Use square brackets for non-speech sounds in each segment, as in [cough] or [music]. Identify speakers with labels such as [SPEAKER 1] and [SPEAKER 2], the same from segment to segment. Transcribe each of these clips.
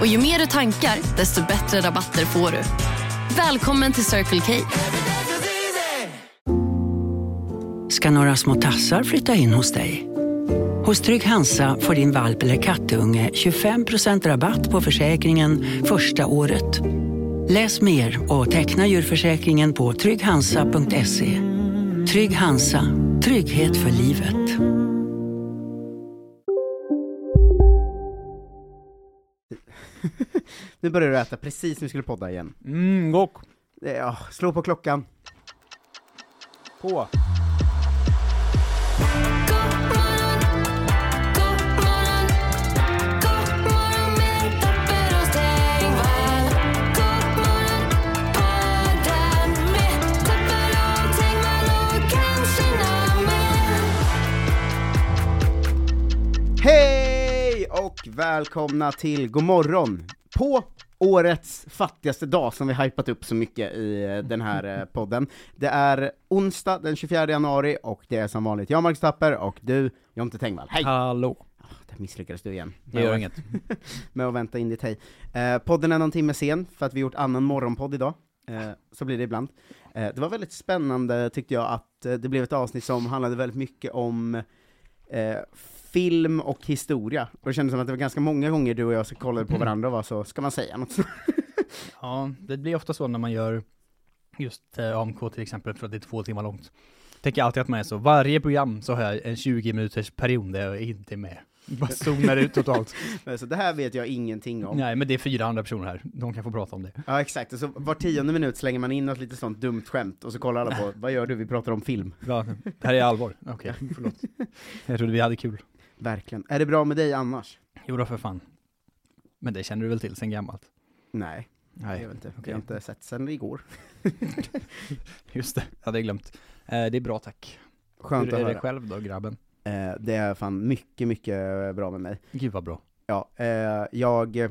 [SPEAKER 1] Och ju mer du tankar, desto bättre rabatter får du. Välkommen till Circle K.
[SPEAKER 2] ska några små tassar flytta in hos dig. Hos Trygg Hansa får din valp eller kattunge 25% rabatt på försäkringen första året. Läs mer och teckna djurförsäkringen på trygghansa.se. Trygg Hansa, trygghet för livet.
[SPEAKER 3] Nu börjar du äta precis när vi skulle podda igen.
[SPEAKER 4] Mm, gock.
[SPEAKER 3] Det- Ja, slå på klockan.
[SPEAKER 4] På.
[SPEAKER 3] Hej och välkomna till Godmorgon på årets fattigaste dag som vi hypat upp så mycket i eh, den här eh, podden. Det är onsdag den 24 januari och det är som vanligt jag Marcus Tapper och du Jonte Tengvall. Hej!
[SPEAKER 4] Hallå.
[SPEAKER 3] Där misslyckades du igen.
[SPEAKER 4] Det gör inget.
[SPEAKER 3] med att vänta in ditt hej. Eh, podden är någon timme sen, för att vi gjort annan morgonpodd idag. Eh, så blir det ibland. Eh, det var väldigt spännande tyckte jag att eh, det blev ett avsnitt som handlade väldigt mycket om eh, film och historia. Och det kändes som att det var ganska många gånger du och jag så kollade på varandra och var så, ska man säga något [laughs] sånt?
[SPEAKER 4] Ja, det blir ofta så när man gör just eh, AMK till exempel, för att det är två timmar långt. Tänker alltid att man är så, varje program så har jag en 20 minuters period där jag inte är med. Bara zonar ut totalt. [laughs]
[SPEAKER 3] Eh, så det här vet jag ingenting om. Ja,
[SPEAKER 4] Nej, men det är fyra andra personer här. De kan få prata om det.
[SPEAKER 3] exakt. Och så var tionde minut slänger man in något lite sånt dumt skämt, och så kollar alla
[SPEAKER 4] [laughs]
[SPEAKER 3] på, vad gör du? Vi pratar om film.
[SPEAKER 4] Ja, det här är allvar. Okej, [laughs] förlåt. Jag trodde vi hade kul.
[SPEAKER 3] [laughs] Verkligen. Är det bra med dig annars?
[SPEAKER 4] Jo då för fan. Men det känner du väl till sen gammalt?
[SPEAKER 3] Nej,
[SPEAKER 4] Nej,
[SPEAKER 3] jag vet inte.
[SPEAKER 4] okej.
[SPEAKER 3] Jag har inte sett sen igår.
[SPEAKER 4] Just det, jag hade glömt. Eh, det är bra tack.
[SPEAKER 3] Skönt
[SPEAKER 4] Hur
[SPEAKER 3] att
[SPEAKER 4] är
[SPEAKER 3] höra.
[SPEAKER 4] det själv då grabben?
[SPEAKER 3] Eh, det är fan mycket, mycket bra med mig.
[SPEAKER 4] Gud vad bra.
[SPEAKER 3] Ja, eh, jag eh,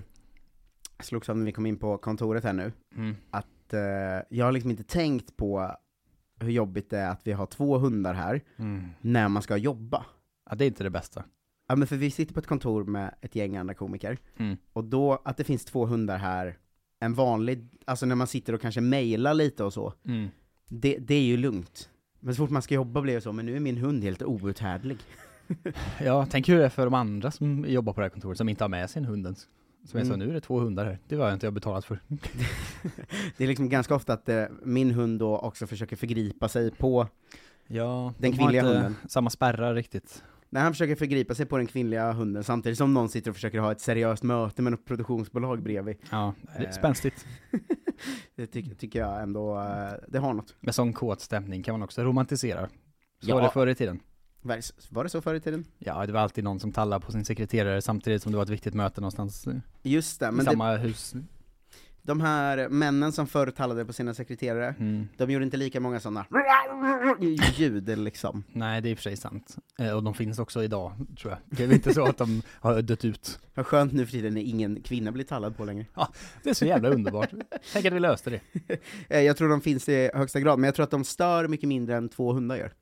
[SPEAKER 3] slogs av när vi kom in på kontoret här nu,
[SPEAKER 4] Mm.
[SPEAKER 3] att eh, jag har liksom inte tänkt på hur jobbigt det är att vi har två hundar här, när man ska jobba.
[SPEAKER 4] Mm. Ja, det är inte det bästa.
[SPEAKER 3] Ja men för vi sitter på ett kontor med ett gäng andra komiker,
[SPEAKER 4] Mm.
[SPEAKER 3] och då, att det finns två hundar här, en vanlig, alltså när man sitter och kanske mejlar lite och så,
[SPEAKER 4] Mm.
[SPEAKER 3] det, det är ju lugnt. Men så fort man ska jobba blir det så, men nu är min hund helt outhärdlig.
[SPEAKER 4] Ja, tänk hur det är för de andra som jobbar på det här kontoret, som inte har med sin hund ens. Som är så,
[SPEAKER 3] Mm.
[SPEAKER 4] nu är det två hundar här. Det var jag inte jag betalat för.
[SPEAKER 3] Det är liksom ganska ofta att eh, min hund då också försöker förgripa sig på,
[SPEAKER 4] [laughs] Ja,
[SPEAKER 3] Den
[SPEAKER 4] de har
[SPEAKER 3] kvinnliga
[SPEAKER 4] inte
[SPEAKER 3] hunden.
[SPEAKER 4] samma spärrar riktigt.
[SPEAKER 3] när han försöker förgripa sig på den kvinnliga hunden samtidigt som någon sitter och försöker ha ett seriöst möte med något produktionsbolag bredvid.
[SPEAKER 4] Ja, det är
[SPEAKER 3] Eh.
[SPEAKER 4] spänstigt.
[SPEAKER 3] Det ty- tycker jag ändå, eh, det har något.
[SPEAKER 4] Med sån kåt stämning kan man också romantisera. Så
[SPEAKER 3] Ja.
[SPEAKER 4] var det förr i tiden.
[SPEAKER 3] Var det- Var det så förr i tiden?
[SPEAKER 4] Ja, det var alltid någon som tallade på sin sekreterare samtidigt som det var ett viktigt möte någonstans eh,
[SPEAKER 3] Just det,
[SPEAKER 4] i
[SPEAKER 3] men det,
[SPEAKER 4] samma hus.
[SPEAKER 3] de här männen som förr talade på sina sekreterare,
[SPEAKER 4] Mm.
[SPEAKER 3] de gjorde inte lika många sådana ljud liksom.
[SPEAKER 4] Nej, det är i och för sig sant. Eh, och de finns också idag, tror jag. Det är väl inte så att de har dött ut.
[SPEAKER 3] Vad skönt nu för tiden när ingen kvinna blir tallad på längre.
[SPEAKER 4] Det är så jävla underbart. Tänk att vi löste det.
[SPEAKER 3] Eh, Jag tror de finns i högsta grad, men jag tror att de stör mycket mindre än två hundar gör.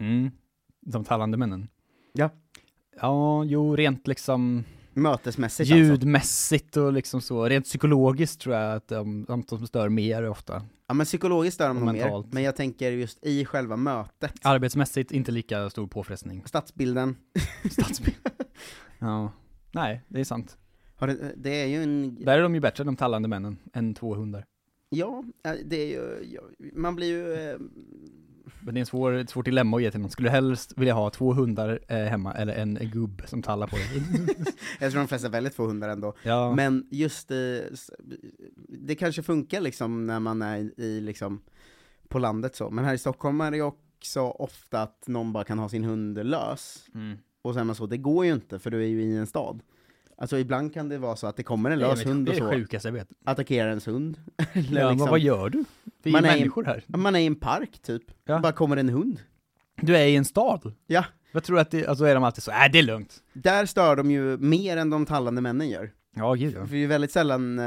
[SPEAKER 4] Mm. De tallande männen.
[SPEAKER 3] Ja.
[SPEAKER 4] Ja, jo, rent liksom
[SPEAKER 3] Mötesmässigt alltså.
[SPEAKER 4] ljudmässigt och liksom så. Rent psykologiskt tror jag att de, de som stör mer ofta.
[SPEAKER 3] Ja men psykologiskt stör de
[SPEAKER 4] Och
[SPEAKER 3] nog
[SPEAKER 4] mentalt.
[SPEAKER 3] mer, men jag tänker just i själva mötet,
[SPEAKER 4] Arbetsmässigt inte lika stor påfrestning.
[SPEAKER 3] stadsbilden,
[SPEAKER 4] Stadsbild. ja. Nej, det är sant.
[SPEAKER 3] har det, det är ju en,
[SPEAKER 4] Där är de ju bättre, de tallande männen, än två hundar.
[SPEAKER 3] ja, eh, det är ju, ja, man blir ju, eh,
[SPEAKER 4] Men det är en svår, ett svårt dilemma att ge till någon. Skulle du helst vilja ha två hundar eh, hemma, eller en gubb som tallar på dig?
[SPEAKER 3] [laughs] jag tror de flesta väldigt få hundar ändå,
[SPEAKER 4] ja.
[SPEAKER 3] men just i, s- det kanske funkar liksom när man är i, i liksom, på landet så, men här i Stockholm är det ju också ofta att någon bara kan ha sin hund lös,
[SPEAKER 4] Mm.
[SPEAKER 3] och så är man så, det går ju inte för du är ju i en stad. Alltså ibland kan det vara så att det kommer en
[SPEAKER 4] Det
[SPEAKER 3] lös
[SPEAKER 4] är
[SPEAKER 3] hund
[SPEAKER 4] det
[SPEAKER 3] och
[SPEAKER 4] är det
[SPEAKER 3] så,
[SPEAKER 4] sjukaste jag vet.
[SPEAKER 3] attackerar ens hund. Eller
[SPEAKER 4] Ja,
[SPEAKER 3] liksom,
[SPEAKER 4] men vad gör du? Vi är
[SPEAKER 3] Man
[SPEAKER 4] ju
[SPEAKER 3] är i-
[SPEAKER 4] människor här.
[SPEAKER 3] Ja, Man är i en park typ,
[SPEAKER 4] Ja.
[SPEAKER 3] bara kommer en hund.
[SPEAKER 4] Du är i en stad.
[SPEAKER 3] Ja.
[SPEAKER 4] Jag tror att det, alltså är de alltid så, äh det är lugnt.
[SPEAKER 3] Där stör de ju mer än de tallande männen gör.
[SPEAKER 4] Ja, gud
[SPEAKER 3] [laughs]
[SPEAKER 4] ja.
[SPEAKER 3] För det är ju väldigt sällan, eh,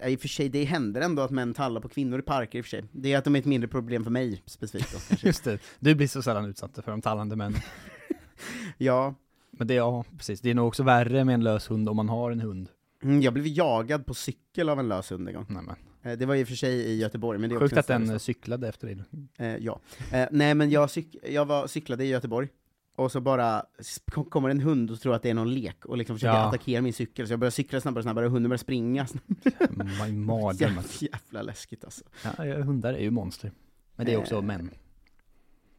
[SPEAKER 3] ja, i och för sig, det händer ändå att män tallar på kvinnor i parker i och för sig. Det är att de är ett mindre problem för mig specifikt då,
[SPEAKER 4] [laughs]
[SPEAKER 3] kanske.
[SPEAKER 4] Just det, du blir så sällan utsatt för de tallande männen.
[SPEAKER 3] Ja,
[SPEAKER 4] Men det, ja precis, det är nog också värre med en lös hund om man har en hund.
[SPEAKER 3] mm, jag blev jagad på cykel av en lös hund en gång.
[SPEAKER 4] Nej, men.
[SPEAKER 3] Eh, Det var ju i och för sig i Göteborg, men det är
[SPEAKER 4] Sjukt
[SPEAKER 3] också
[SPEAKER 4] att
[SPEAKER 3] nästan
[SPEAKER 4] den
[SPEAKER 3] liksom.
[SPEAKER 4] cyklade
[SPEAKER 3] [laughs]
[SPEAKER 4] efter dig.
[SPEAKER 3] Eh, ja. Eh, nej, men jag, cyk- jag var, cyklade i Göteborg, och så bara sp- kom- kommer en hund och tror att det är någon lek, och liksom försöker
[SPEAKER 4] Ja.
[SPEAKER 3] attackera min cykel, så jag börjar cykla snabbare och snabbare, och hunden börjar springa.
[SPEAKER 4] Mm, I magen.
[SPEAKER 3] Jävla,
[SPEAKER 4] men-
[SPEAKER 3] jävla läskigt alltså.
[SPEAKER 4] Ja, hundar är ju monster. Men det är också
[SPEAKER 3] Eh,
[SPEAKER 4] män.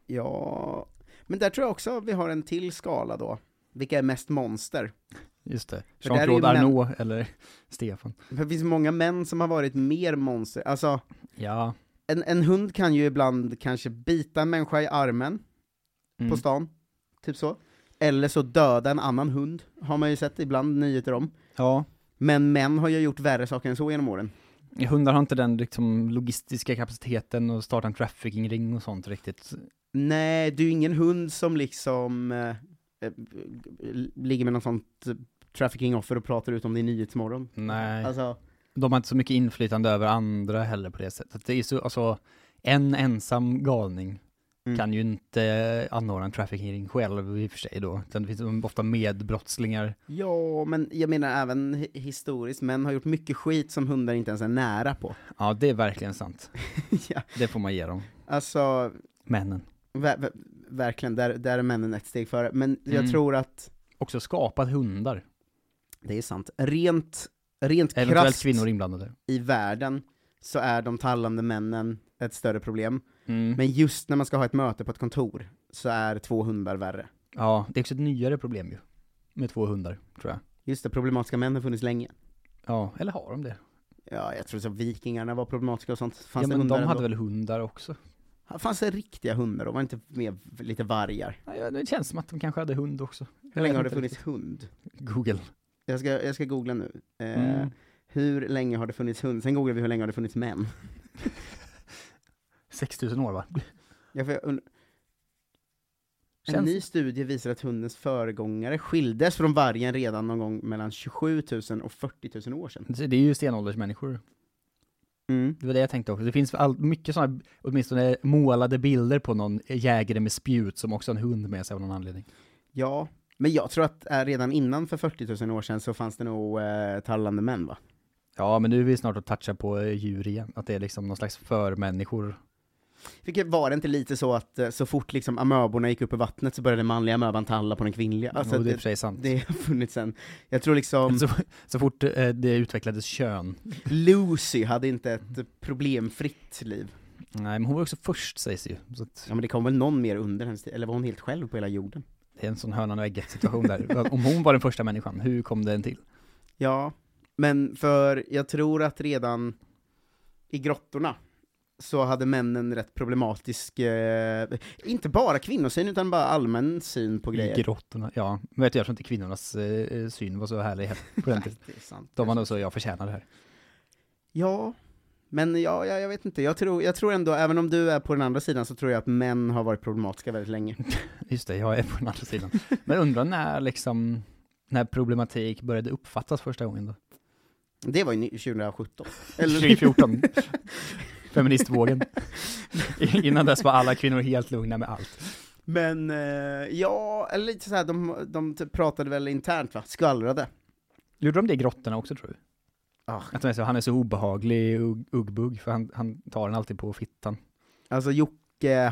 [SPEAKER 3] Ja, men där tror jag också vi har en till skala då. Vilka är mest monster?
[SPEAKER 4] Just det.
[SPEAKER 3] för där är ju
[SPEAKER 4] Jean-Claude
[SPEAKER 3] män-
[SPEAKER 4] Arnault eller Stefan.
[SPEAKER 3] För det finns många män som har varit mer monster. Alltså,
[SPEAKER 4] Ja.
[SPEAKER 3] en, en hund kan ju ibland kanske bita en människa i armen
[SPEAKER 4] Mm.
[SPEAKER 3] på stan, typ så. Eller så döda en annan hund, har man ju sett ibland nyheter om.
[SPEAKER 4] Ja.
[SPEAKER 3] Men män har ju gjort värre saker än så genom åren.
[SPEAKER 4] Hundar har inte den liksom, logistiska kapaciteten att starta en trafficking-ring och sånt riktigt.
[SPEAKER 3] Nej, du är ju ingen hund som liksom eh, eh, ligger med något sånt eh, trafficking-offer och pratar ut om det i Nyhetsmorgon.
[SPEAKER 4] Nej.
[SPEAKER 3] Alltså,
[SPEAKER 4] De har inte så mycket inflytande över andra heller på det sättet. Att Det är så, alltså, en ensam galning
[SPEAKER 3] Mm.
[SPEAKER 4] kan ju inte anordna en trafficking själv i och för sig då. Utan det finns ofta medbrottslingar.
[SPEAKER 3] Ja, men jag menar även hi- historiskt, män har gjort mycket skit som hundar inte ens är nära
[SPEAKER 4] [laughs]
[SPEAKER 3] på.
[SPEAKER 4] Ja, det är verkligen sant.
[SPEAKER 3] ja,
[SPEAKER 4] Det får man ge dem.
[SPEAKER 3] alltså,
[SPEAKER 4] Männen.
[SPEAKER 3] ver ver verkligen, där, där är männen ett steg före. Men jag
[SPEAKER 4] Mm.
[SPEAKER 3] tror att,
[SPEAKER 4] Också skapat hundar.
[SPEAKER 3] det är sant, rent, rent
[SPEAKER 4] Eventuellt
[SPEAKER 3] krasst
[SPEAKER 4] kvinnor inblandade.
[SPEAKER 3] i världen så är de tallande männen ett större problem.
[SPEAKER 4] Mm.
[SPEAKER 3] Men just när man ska ha ett möte på ett kontor så är två hundar värre.
[SPEAKER 4] Ja, det är också ett nyare problem ju. Med två hundar, tror jag.
[SPEAKER 3] Just det, problematiska män har funnits länge.
[SPEAKER 4] Ja, eller har de det?
[SPEAKER 3] Ja, jag tror så vikingarna var problematiska och sånt. Fanns
[SPEAKER 4] Ja,
[SPEAKER 3] det
[SPEAKER 4] men
[SPEAKER 3] hundar
[SPEAKER 4] de hade
[SPEAKER 3] ändå?
[SPEAKER 4] väl hundar också?
[SPEAKER 3] Fanns det riktiga hundar då? Var det inte mer lite vargar?
[SPEAKER 4] Ja, ja, det känns som att de kanske hade hund också.
[SPEAKER 3] Hur
[SPEAKER 4] Jag
[SPEAKER 3] länge
[SPEAKER 4] vet
[SPEAKER 3] har det
[SPEAKER 4] inte
[SPEAKER 3] funnits hund?
[SPEAKER 4] Google.
[SPEAKER 3] Jag ska, jag ska googla nu. Eh,
[SPEAKER 4] Mm.
[SPEAKER 3] Hur länge har det funnits hund? Sen googlar vi hur länge har det funnits män.
[SPEAKER 4] 6000 år va?
[SPEAKER 3] Jag får, und- en
[SPEAKER 4] Känns-
[SPEAKER 3] ny studie visar att hundens föregångare skildes från vargen redan någon gång mellan 27 000 och 40 000 år sedan.
[SPEAKER 4] Det är ju stenåldersmänniskor.
[SPEAKER 3] Mm.
[SPEAKER 4] Det var det jag tänkte också. Det finns all, mycket sådana, åtminstone målade bilder på någon jägare med spjut som också har en hund med sig av någon anledning.
[SPEAKER 3] Ja, men jag tror att eh, redan innan för 40 000 år sedan så fanns det nog eh, tallande män va?
[SPEAKER 4] Ja, men nu är vi snart att toucha på eh, djur igen. Att det är liksom någon slags förmänniskor.
[SPEAKER 3] Vilket var det inte lite så att eh, så fort liksom amöborna gick upp i vattnet så började den manliga amöban talla på den kvinnliga? Alltså,
[SPEAKER 4] och det är i och
[SPEAKER 3] det,
[SPEAKER 4] för sig sant.
[SPEAKER 3] det har funnits sen. Jag tror liksom...
[SPEAKER 4] Så, så fort eh, det utvecklades kön.
[SPEAKER 3] Lucy hade inte ett problemfritt liv.
[SPEAKER 4] Nej, men hon var också först sägs det ju. Så att
[SPEAKER 3] Ja men det kom väl någon mer under hennes tid, eller var hon helt själv på hela jorden?
[SPEAKER 4] det är en sån hönan och ägget
[SPEAKER 3] [laughs]
[SPEAKER 4] situation där. Om hon var den första människan, hur kom den till?
[SPEAKER 3] Ja, men för jag tror att redan i grottorna så hade männen rätt problematisk, eh, inte bara kvinnosyn utan bara allmän syn på grejer.
[SPEAKER 4] I grottorna, ja. Men vet du, jag tror inte kvinnornas eh, syn var så härlig på den
[SPEAKER 3] Nej,
[SPEAKER 4] tiden.
[SPEAKER 3] det är sant.
[SPEAKER 4] De var nog så, jag förtjänar det här.
[SPEAKER 3] Ja, men ja, ja, jag vet inte, jag tror, jag tror ändå, även om du är på den andra sidan så tror jag att män har varit problematiska väldigt länge.
[SPEAKER 4] Just det, jag är på den andra sidan. Men undrar när liksom, när problematik började uppfattas första gången då?
[SPEAKER 3] Det var ju ny- 2017. Eller-
[SPEAKER 4] 2014. Feministvågen. I- Innan dess var alla kvinnor helt lugna med allt.
[SPEAKER 3] Men eh, ja, eller lite såhär, de, de typ pratade väl internt va? Skvallrade.
[SPEAKER 4] Gjorde de det i grottorna också tror du?
[SPEAKER 3] Ah.
[SPEAKER 4] Att de är så, han är så obehaglig, ugg- uggbugg, för han, han tar den alltid
[SPEAKER 3] [laughs]
[SPEAKER 4] på fittan.
[SPEAKER 3] Alltså Jocke,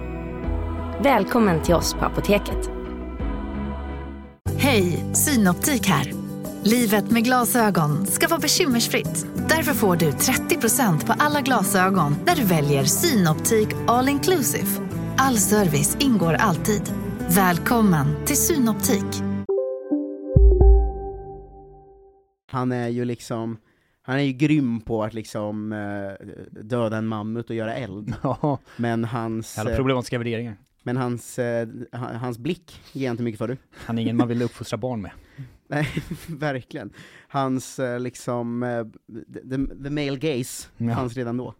[SPEAKER 5] Välkommen till oss på Apoteket.
[SPEAKER 6] Hej, Synoptik här. Livet med glasögon ska vara bekymmersfritt. Därför får du 30% på alla glasögon när du väljer Synoptik All Inclusive. All service ingår alltid. Välkommen till Synoptik.
[SPEAKER 3] Han är ju liksom, han är ju grym på att liksom eh, döda en mammut och göra eld.
[SPEAKER 4] Ja,
[SPEAKER 3] Men hans,
[SPEAKER 4] jävla
[SPEAKER 3] eh,
[SPEAKER 4] problematiska värderingar.
[SPEAKER 3] men hans, eh, ha- hans blick ger inte mycket för du.
[SPEAKER 4] Han är ingen man vill uppfostra barn med.
[SPEAKER 3] Nej, [laughs] verkligen. Hans eh, liksom, eh, the, the male gaze
[SPEAKER 4] Ja.
[SPEAKER 3] fanns redan då.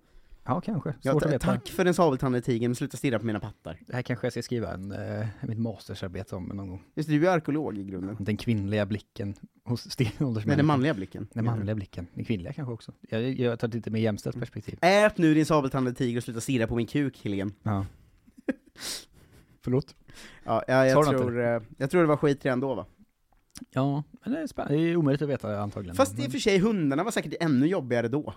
[SPEAKER 4] Ja, kanske. Svårt
[SPEAKER 3] Ja,
[SPEAKER 4] att
[SPEAKER 3] ta-
[SPEAKER 4] veta.
[SPEAKER 3] tack för den sabeltandade tigern, men sluta stirra på mina pattar.
[SPEAKER 4] Det här kanske jag ska skriva en, eh, mitt mastersarbete om någon gång.
[SPEAKER 3] Just det, du är arkeolog i grunden.
[SPEAKER 4] Den kvinnliga blicken hos stenåldersmänniskor.
[SPEAKER 3] Nej, den manliga blicken.
[SPEAKER 4] Den manliga blicken. Den kvinnliga kanske också. Jag, jag tar ett lite mer jämställt perspektiv.
[SPEAKER 3] Ät nu din sabeltandade tiger och sluta stirra på min kuk, Helene.
[SPEAKER 4] Ja. Förlåt?
[SPEAKER 3] Ja, jag, jag,
[SPEAKER 4] Sa du
[SPEAKER 3] tror, eh, jag tror det var skit redan då va?
[SPEAKER 4] Ja, men det är spännande. Det är omöjligt att veta antagligen.
[SPEAKER 3] Fast i
[SPEAKER 4] Men-
[SPEAKER 3] och för sig, hundarna var säkert ännu jobbigare då.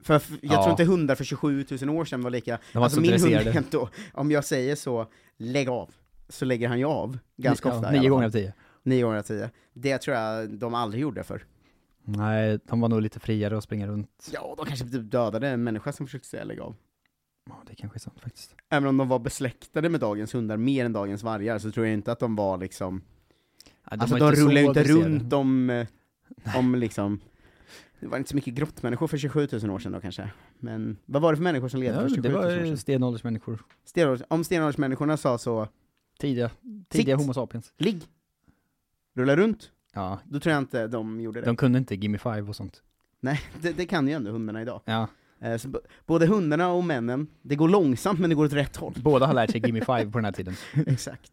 [SPEAKER 3] För f- jag
[SPEAKER 4] Ja.
[SPEAKER 3] tror inte hundar för 27 000 år sedan var lika...
[SPEAKER 4] var
[SPEAKER 3] alltså
[SPEAKER 4] inte
[SPEAKER 3] min
[SPEAKER 4] så
[SPEAKER 3] hund
[SPEAKER 4] dresserade.
[SPEAKER 3] är inte då, om jag säger så, lägg av, så lägger han ju av. Ganska
[SPEAKER 4] Ja,
[SPEAKER 3] ofta. i alla
[SPEAKER 4] Nio
[SPEAKER 3] fall.
[SPEAKER 4] gånger av tio.
[SPEAKER 3] Nio gånger av tio. Det tror jag de aldrig gjorde för.
[SPEAKER 4] Nej, de var nog lite friare att springa runt.
[SPEAKER 3] Ja, de kanske typ dödade en människa som försökte säga lägg av.
[SPEAKER 4] Ja, det kanske är sant faktiskt.
[SPEAKER 3] Även om de var besläktade med dagens hundar mer än dagens vargar, så tror jag inte att de var liksom...
[SPEAKER 4] Ja,
[SPEAKER 3] alltså
[SPEAKER 4] var
[SPEAKER 3] de
[SPEAKER 4] så
[SPEAKER 3] rullar ju inte
[SPEAKER 4] avancerade.
[SPEAKER 3] runt om, eh, om liksom... Det var inte så mycket grottmänniskor för 27 000 år sedan då kanske. Men vad var det för människor som levde
[SPEAKER 4] Ja,
[SPEAKER 3] för 27
[SPEAKER 4] det
[SPEAKER 3] 000 år
[SPEAKER 4] var
[SPEAKER 3] sedan?
[SPEAKER 4] ju stenåldersmänniskor.
[SPEAKER 3] Stenålders, om stenåldersmänniskorna sa så,
[SPEAKER 4] Tidiga, tidiga
[SPEAKER 3] Sitt.
[SPEAKER 4] Homo sapiens.
[SPEAKER 3] ligg, rulla runt,
[SPEAKER 4] Ja,
[SPEAKER 3] då tror jag inte de gjorde det.
[SPEAKER 4] de kunde inte Gimme Five och sånt.
[SPEAKER 3] Nej, det, det kan ju ändå hundarna idag.
[SPEAKER 4] Ja,
[SPEAKER 3] Eh, så b- både hundarna och männen, det går långsamt men det går åt rätt
[SPEAKER 4] [laughs]
[SPEAKER 3] håll.
[SPEAKER 4] båda har lärt sig Gimme Five på den
[SPEAKER 3] [laughs]
[SPEAKER 4] här tiden.
[SPEAKER 3] Exakt.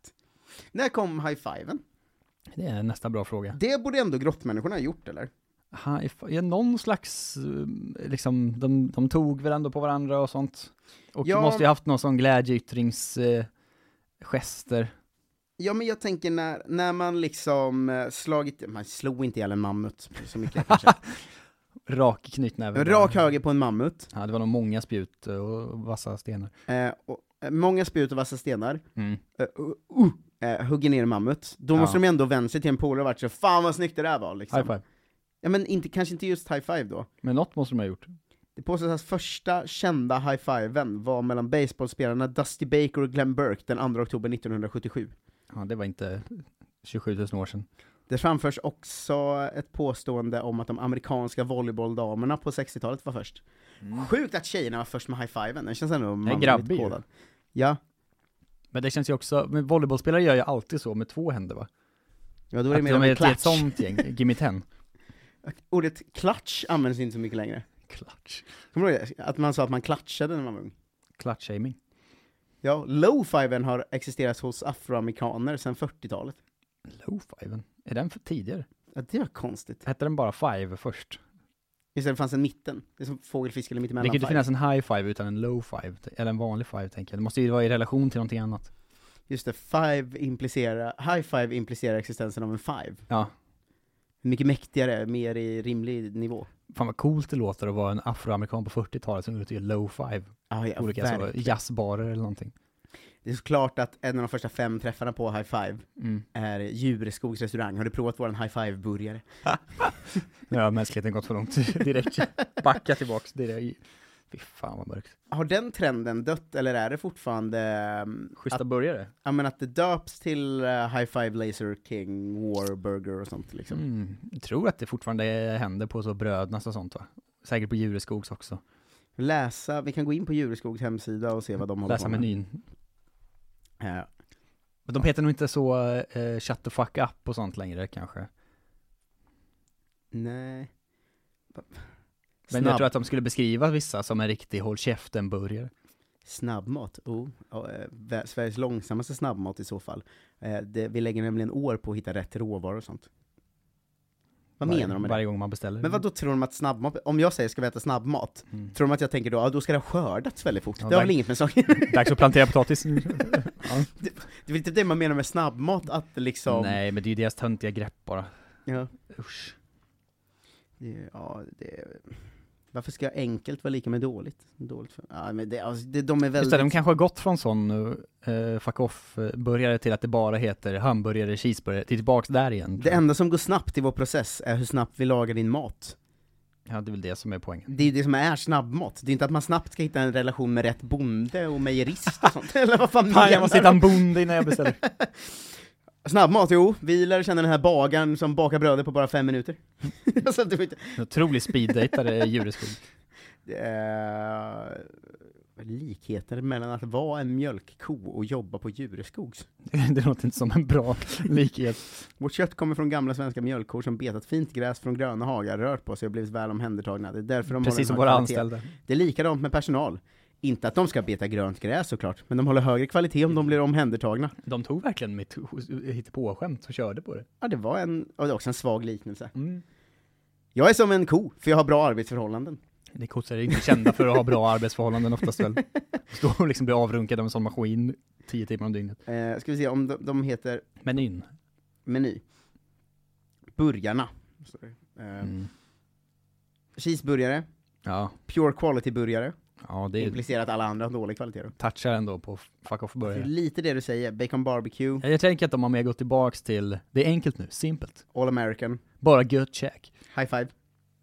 [SPEAKER 3] När kom high-fiven?
[SPEAKER 4] Det är nästan bra fråga.
[SPEAKER 3] Det borde ändå grottmänniskorna ha gjort eller?
[SPEAKER 4] High five, ja, någon slags, eh, liksom, de, de tog väl ändå på varandra och sånt. Och
[SPEAKER 3] Ja.
[SPEAKER 4] de måste ju haft någon sån eh, glädjeytringsgester. Eh, gester.
[SPEAKER 3] Ja men jag tänker när, när man liksom eh, slagit, man slog inte ihjäl en mammut så mycket kanske.
[SPEAKER 4] Rak knytnäve.
[SPEAKER 3] En Rak höger på en mammut,
[SPEAKER 4] Ja, det var nog många spjut eh, och vassa stenar.
[SPEAKER 3] eh, och, eh, många spjut och vassa stenar,
[SPEAKER 4] Mm.
[SPEAKER 3] eh, uh, uh, eh, hugger ner en mammut. Då
[SPEAKER 4] Ja.
[SPEAKER 3] måste de ändå vända sig till en polare och varit så 'Fan vad snyggt det där var' liksom.
[SPEAKER 4] High five.
[SPEAKER 3] Ja men inte, kanske inte just high five då.
[SPEAKER 4] Men något måste de ha gjort.
[SPEAKER 3] Det påstås att första kända high fiven var mellan baseballspelarna Dusty Baker och Glenn Burke den 2 oktober 1977.
[SPEAKER 4] Ja, det var inte 27 000 år sedan.
[SPEAKER 3] Det framförs också ett påstående om att de amerikanska volleybolldamerna på 60-talet var först.
[SPEAKER 4] Mm.
[SPEAKER 3] Sjukt att tjejerna var först med high-fiven, den känns ändå manligt
[SPEAKER 4] grabbig ju.
[SPEAKER 3] kodad. Ja,
[SPEAKER 4] Men det känns ju också, men volleybollspelare gör ju alltid så med två händer va?
[SPEAKER 3] ja då är det
[SPEAKER 4] Att
[SPEAKER 3] mer
[SPEAKER 4] de
[SPEAKER 3] av
[SPEAKER 4] är
[SPEAKER 3] en
[SPEAKER 4] ett- ett
[SPEAKER 3] klatsch. [laughs]
[SPEAKER 4] sånt gäng, gimme ten.
[SPEAKER 3] Ordet klatsch används inte så mycket längre.
[SPEAKER 4] Klatsch.
[SPEAKER 3] Kommer du ihåg det? Att man sa att man klatschade när man var ung?
[SPEAKER 4] Klatsch-shaming.
[SPEAKER 3] Ja, low-fiven har existerat hos afroamerikaner sedan 40-talet.
[SPEAKER 4] Low-fiven. Är den för tidigare?
[SPEAKER 3] Ja, det var konstigt.
[SPEAKER 4] Hette den bara five först?
[SPEAKER 3] Just det, det fanns en mitten. Det är som fågelfisk eller
[SPEAKER 4] det
[SPEAKER 3] mittemellan.
[SPEAKER 4] kan ju inte
[SPEAKER 3] five.
[SPEAKER 4] finnas en high five utan en low five, t- eller en vanlig five tänker jag. Det måste ju vara i relation till någonting annat.
[SPEAKER 3] Just det, five implicerar, high-five implicerar existensen av en five.
[SPEAKER 4] Ja.
[SPEAKER 3] Mycket mäktigare, mer i rimlig nivå.
[SPEAKER 4] Fan vad coolt det låter att vara en afroamerikan på 40-talet som går ut och gör low five
[SPEAKER 3] Ah, ja,
[SPEAKER 4] på olika
[SPEAKER 3] verkligen.
[SPEAKER 4] så, jazzbarer eller någonting.
[SPEAKER 3] Det är såklart att en av de första fem träffarna på High Five
[SPEAKER 4] Mm.
[SPEAKER 3] är Djureskogs restaurang. Har du provat våran High Five-burgare?
[SPEAKER 4] Nu har mänskligheten gått för långt [laughs] direkt. Backa tillbaks direkt. Fy fan vad mörkt.
[SPEAKER 3] Har den trenden dött, eller är det fortfarande ehm,
[SPEAKER 4] Schyssta
[SPEAKER 3] att,
[SPEAKER 4] burgare.
[SPEAKER 3] ja, men att det döps till eh, High Five Laser King War Burger och sånt liksom?
[SPEAKER 4] Mm, jag tror att det fortfarande händer på så Brödnas och sånt va? Säkert på Jureskogs också.
[SPEAKER 3] Läsa, vi kan gå in på Djureskogs hemsida och se vad de håller
[SPEAKER 4] Läsa
[SPEAKER 3] på med.
[SPEAKER 4] menyn.
[SPEAKER 3] Eh,
[SPEAKER 4] Men de heter nog inte så eh, shut the fuck up och sånt längre kanske. Men
[SPEAKER 3] nej.
[SPEAKER 4] jag
[SPEAKER 3] Snabb,
[SPEAKER 4] tror att de skulle beskriva vissa som en riktig håll käften-burgare.
[SPEAKER 3] snabbmat, oh, ja, eh, vä- Sveriges långsammaste snabbmat i så fall. Eh, det, vi lägger nämligen år på att hitta rätt råvaror och sånt. Vad menar de med det?
[SPEAKER 4] Varje gång man beställer.
[SPEAKER 3] Men vad då tror de att snabbmat, om jag säger ska vi äta snabbmat, [laughs]
[SPEAKER 4] Mm.
[SPEAKER 3] tror de att jag tänker då, ja då ska det ha skördats väldigt fort?
[SPEAKER 4] Ja,
[SPEAKER 3] det har
[SPEAKER 4] där-
[SPEAKER 3] väl inget med saken
[SPEAKER 4] Dags att plantera
[SPEAKER 3] [laughs]
[SPEAKER 4] potatis.
[SPEAKER 3] Det är väl typ det man menar med snabbmat, att liksom...
[SPEAKER 4] Nej, men det är ju deras töntiga grepp bara.
[SPEAKER 3] Ja,
[SPEAKER 4] Usch.
[SPEAKER 3] det, ja, det, Varför ska enkelt vara lika med dåligt? dåligt för, ja, men det, alltså, det, de är väldigt...
[SPEAKER 4] Just det, de kanske har gått från sån uh, fuck off-burgare till att det bara heter hamburgare, cheeseburgare, till tillbaks där igen.
[SPEAKER 3] det enda som går snabbt i vår process är hur snabbt vi lagar din mat.
[SPEAKER 4] Ja, det är väl det som är poängen.
[SPEAKER 3] Det är ju det som är snabbmat. Det är inte att man snabbt ska hitta en relation med rätt bonde och mejerist och sånt. [laughs] Eller vad fan
[SPEAKER 4] Fan, jag måste hitta
[SPEAKER 3] menar
[SPEAKER 4] en bonde innan jag beställer.
[SPEAKER 3] de? Snabbmat, jo. Vi lär känna den här bagaren som bakar brödet på bara fem minuter. [laughs] alltså, det var inte...
[SPEAKER 4] En otrolig speeddejtare djureskog. [laughs]
[SPEAKER 3] eh, likheter mellan att vara en mjölkko och jobba på Djureskogs.
[SPEAKER 4] det låter inte som en bra likhet.
[SPEAKER 3] Vårt kött kommer från gamla svenska mjölkkor som betat fint gräs från gröna hagar, rört på sig och blivit väl omhändertagna. Det är därför de håller en
[SPEAKER 4] Precis som
[SPEAKER 3] hög
[SPEAKER 4] våra
[SPEAKER 3] kvalitet.
[SPEAKER 4] anställda.
[SPEAKER 3] Det är likadant med personal. Inte att de ska beta grönt gräs såklart, men de håller högre kvalitet om de blir omhändertagna.
[SPEAKER 4] De tog verkligen mitt hittepåskämt och körde på det. Mm.
[SPEAKER 3] Ja, det var en, ja, det är också en svag liknelse. Jag är som en ko, för jag har bra arbetsförhållanden.
[SPEAKER 4] Det kossar är inte kända för att ha bra arbetsförhållanden
[SPEAKER 3] [laughs]
[SPEAKER 4] oftast väl. Stå och liksom bli avrunkad av en sån maskin tio timmar om dygnet.
[SPEAKER 3] Eh, ska vi se om de, de heter
[SPEAKER 4] Menyn.
[SPEAKER 3] meny. Burgarna. Sorry. Eh,
[SPEAKER 4] Mm.
[SPEAKER 3] Cheeseburgare,
[SPEAKER 4] Ja,
[SPEAKER 3] pure quality-burgare.
[SPEAKER 4] ja, det är
[SPEAKER 3] Implicerar att alla andra har dålig kvalitet då.
[SPEAKER 4] touchar ändå på fuck off
[SPEAKER 3] Det är
[SPEAKER 4] början.
[SPEAKER 3] lite det du säger, bacon barbecue,
[SPEAKER 4] Jag tänker att de har mer gått tillbaks till, det är enkelt nu, simpelt.
[SPEAKER 3] all American,
[SPEAKER 4] Bara gött käk.
[SPEAKER 3] high five,
[SPEAKER 4] Är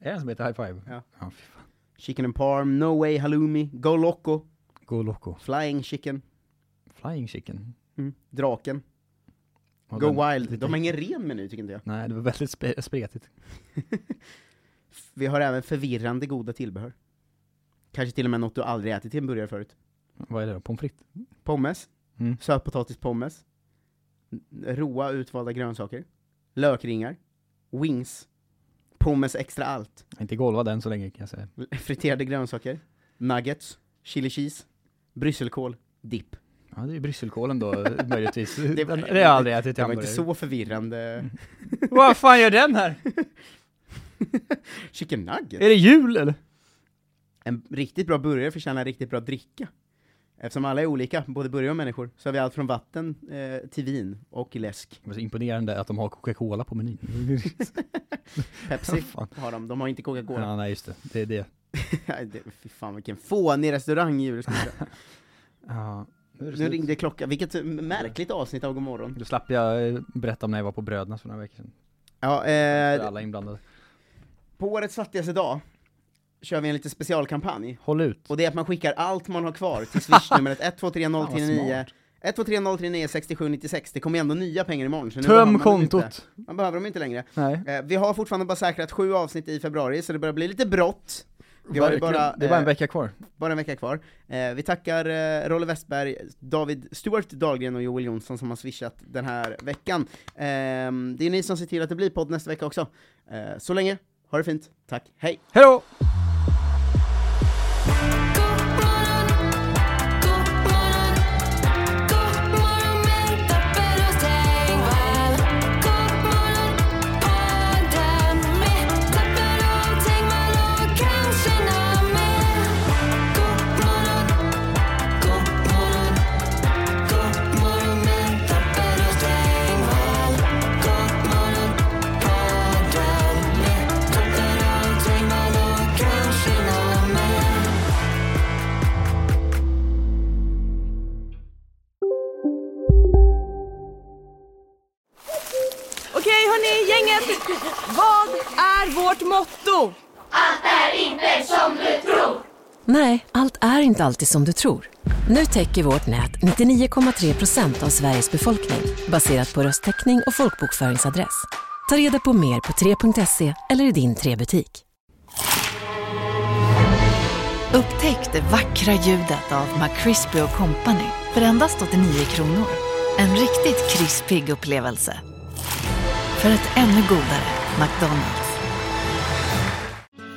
[SPEAKER 4] det en som heter high five?
[SPEAKER 3] Ja.
[SPEAKER 4] ja fy fan.
[SPEAKER 3] chicken and parm, no way halloumi, go loco,
[SPEAKER 4] Go loco.
[SPEAKER 3] flying chicken, mm,
[SPEAKER 4] Flying chicken.
[SPEAKER 3] draken,
[SPEAKER 4] Och
[SPEAKER 3] go
[SPEAKER 4] den-
[SPEAKER 3] wild. De har ingen ren meny tycker inte jag.
[SPEAKER 4] Nej, det var väldigt spe- spretigt.
[SPEAKER 3] Vi har även förvirrande goda tillbehör. Kanske till och med något du aldrig ätit till en burgare förut.
[SPEAKER 4] Vad är det då? Pommes frites?
[SPEAKER 3] Pommes,
[SPEAKER 4] Mm.
[SPEAKER 3] sötpotatispommes, n- roa utvalda grönsaker, lökringar, wings, pommes extra allt,
[SPEAKER 4] Inte golvad än så länge kan jag säga.
[SPEAKER 3] [laughs] friterade grönsaker, nuggets, chili cheese, brysselkål, dipp.
[SPEAKER 4] Ja, det är ju
[SPEAKER 3] [laughs]
[SPEAKER 4] brysselkålen då, möjligtvis. Den-
[SPEAKER 3] Det
[SPEAKER 4] Det
[SPEAKER 3] var-
[SPEAKER 4] har jag aldrig ätit i
[SPEAKER 3] Det var inte
[SPEAKER 4] hamburgare. Mm.
[SPEAKER 3] så förvirrande.
[SPEAKER 4] Vad fan gör den här?
[SPEAKER 3] Chicken nugget?
[SPEAKER 4] Är det jul eller?
[SPEAKER 3] En riktigt bra burgare förtjänar en riktigt bra dricka. Eftersom alla är olika, både burgare och människor, så har vi allt från vatten eh, till vin och läsk.
[SPEAKER 4] Det var så imponerande att de har Coca-Cola
[SPEAKER 3] [laughs]
[SPEAKER 4] på menyn. [laughs]
[SPEAKER 3] Pepsi
[SPEAKER 4] Fan.
[SPEAKER 3] har de, de har inte Coca-Cola.
[SPEAKER 4] ja, nej, just det. Det är det.
[SPEAKER 3] [laughs] Nej, det, fy fan vilken fånig restaurang i
[SPEAKER 4] [laughs]
[SPEAKER 3] Djurgården.
[SPEAKER 4] Ja. Nu,
[SPEAKER 3] Nu ringde klockan, vilket eh, märkligt avsnitt av Godmorgon.
[SPEAKER 4] Då slapp jag eh, berätta om när jag var på Brödernas för några veckor
[SPEAKER 3] Äh,
[SPEAKER 4] sedan.
[SPEAKER 3] Ja,
[SPEAKER 4] För
[SPEAKER 3] eh,
[SPEAKER 4] alla inblandade.
[SPEAKER 3] på årets fattigaste dag kör vi en lite specialkampanj.
[SPEAKER 4] Håll ut.
[SPEAKER 3] Och det är att man skickar allt man har kvar till
[SPEAKER 4] [laughs]
[SPEAKER 3] swishnumret 123039
[SPEAKER 4] smart.
[SPEAKER 3] 123039 6796. Det kommer ju ändå nya pengar imorgon. Så nu behöver
[SPEAKER 4] Töm
[SPEAKER 3] man dem inte.
[SPEAKER 4] kontot!
[SPEAKER 3] Man behöver dem inte längre.
[SPEAKER 4] Nej.
[SPEAKER 3] Eh, vi har fortfarande bara säkrat sju avsnitt i februari, så det börjar bli lite brått. Vi har ju
[SPEAKER 4] Verkligen.
[SPEAKER 3] bara,
[SPEAKER 4] det är bara en
[SPEAKER 3] eh,
[SPEAKER 4] vecka kvar.
[SPEAKER 3] Bara en vecka kvar. Eh, vi tackar eh, Rolle Westberg, David Stuart Dahlgren och Joel Jonsson som har swishat den här veckan. Ehm, det är ni som ser till att det blir podd nästa vecka också. Eh, så länge, ha det fint, tack, hej!
[SPEAKER 4] Hejdå!
[SPEAKER 7] Okej hörni, gänget! Vad är vårt motto?
[SPEAKER 8] Nej, allt är inte alltid som du tror. Nu täcker vårt nät 99,3 procent av Sveriges befolkning baserat på röstteckning och folkbokföringsadress. Ta reda på mer på 3.se eller i din 3-butik.
[SPEAKER 6] Upptäck det vackra ljudet av McCrispy Company för endast 89 kronor. En riktigt krispig upplevelse. För ett ännu godare McDonalds.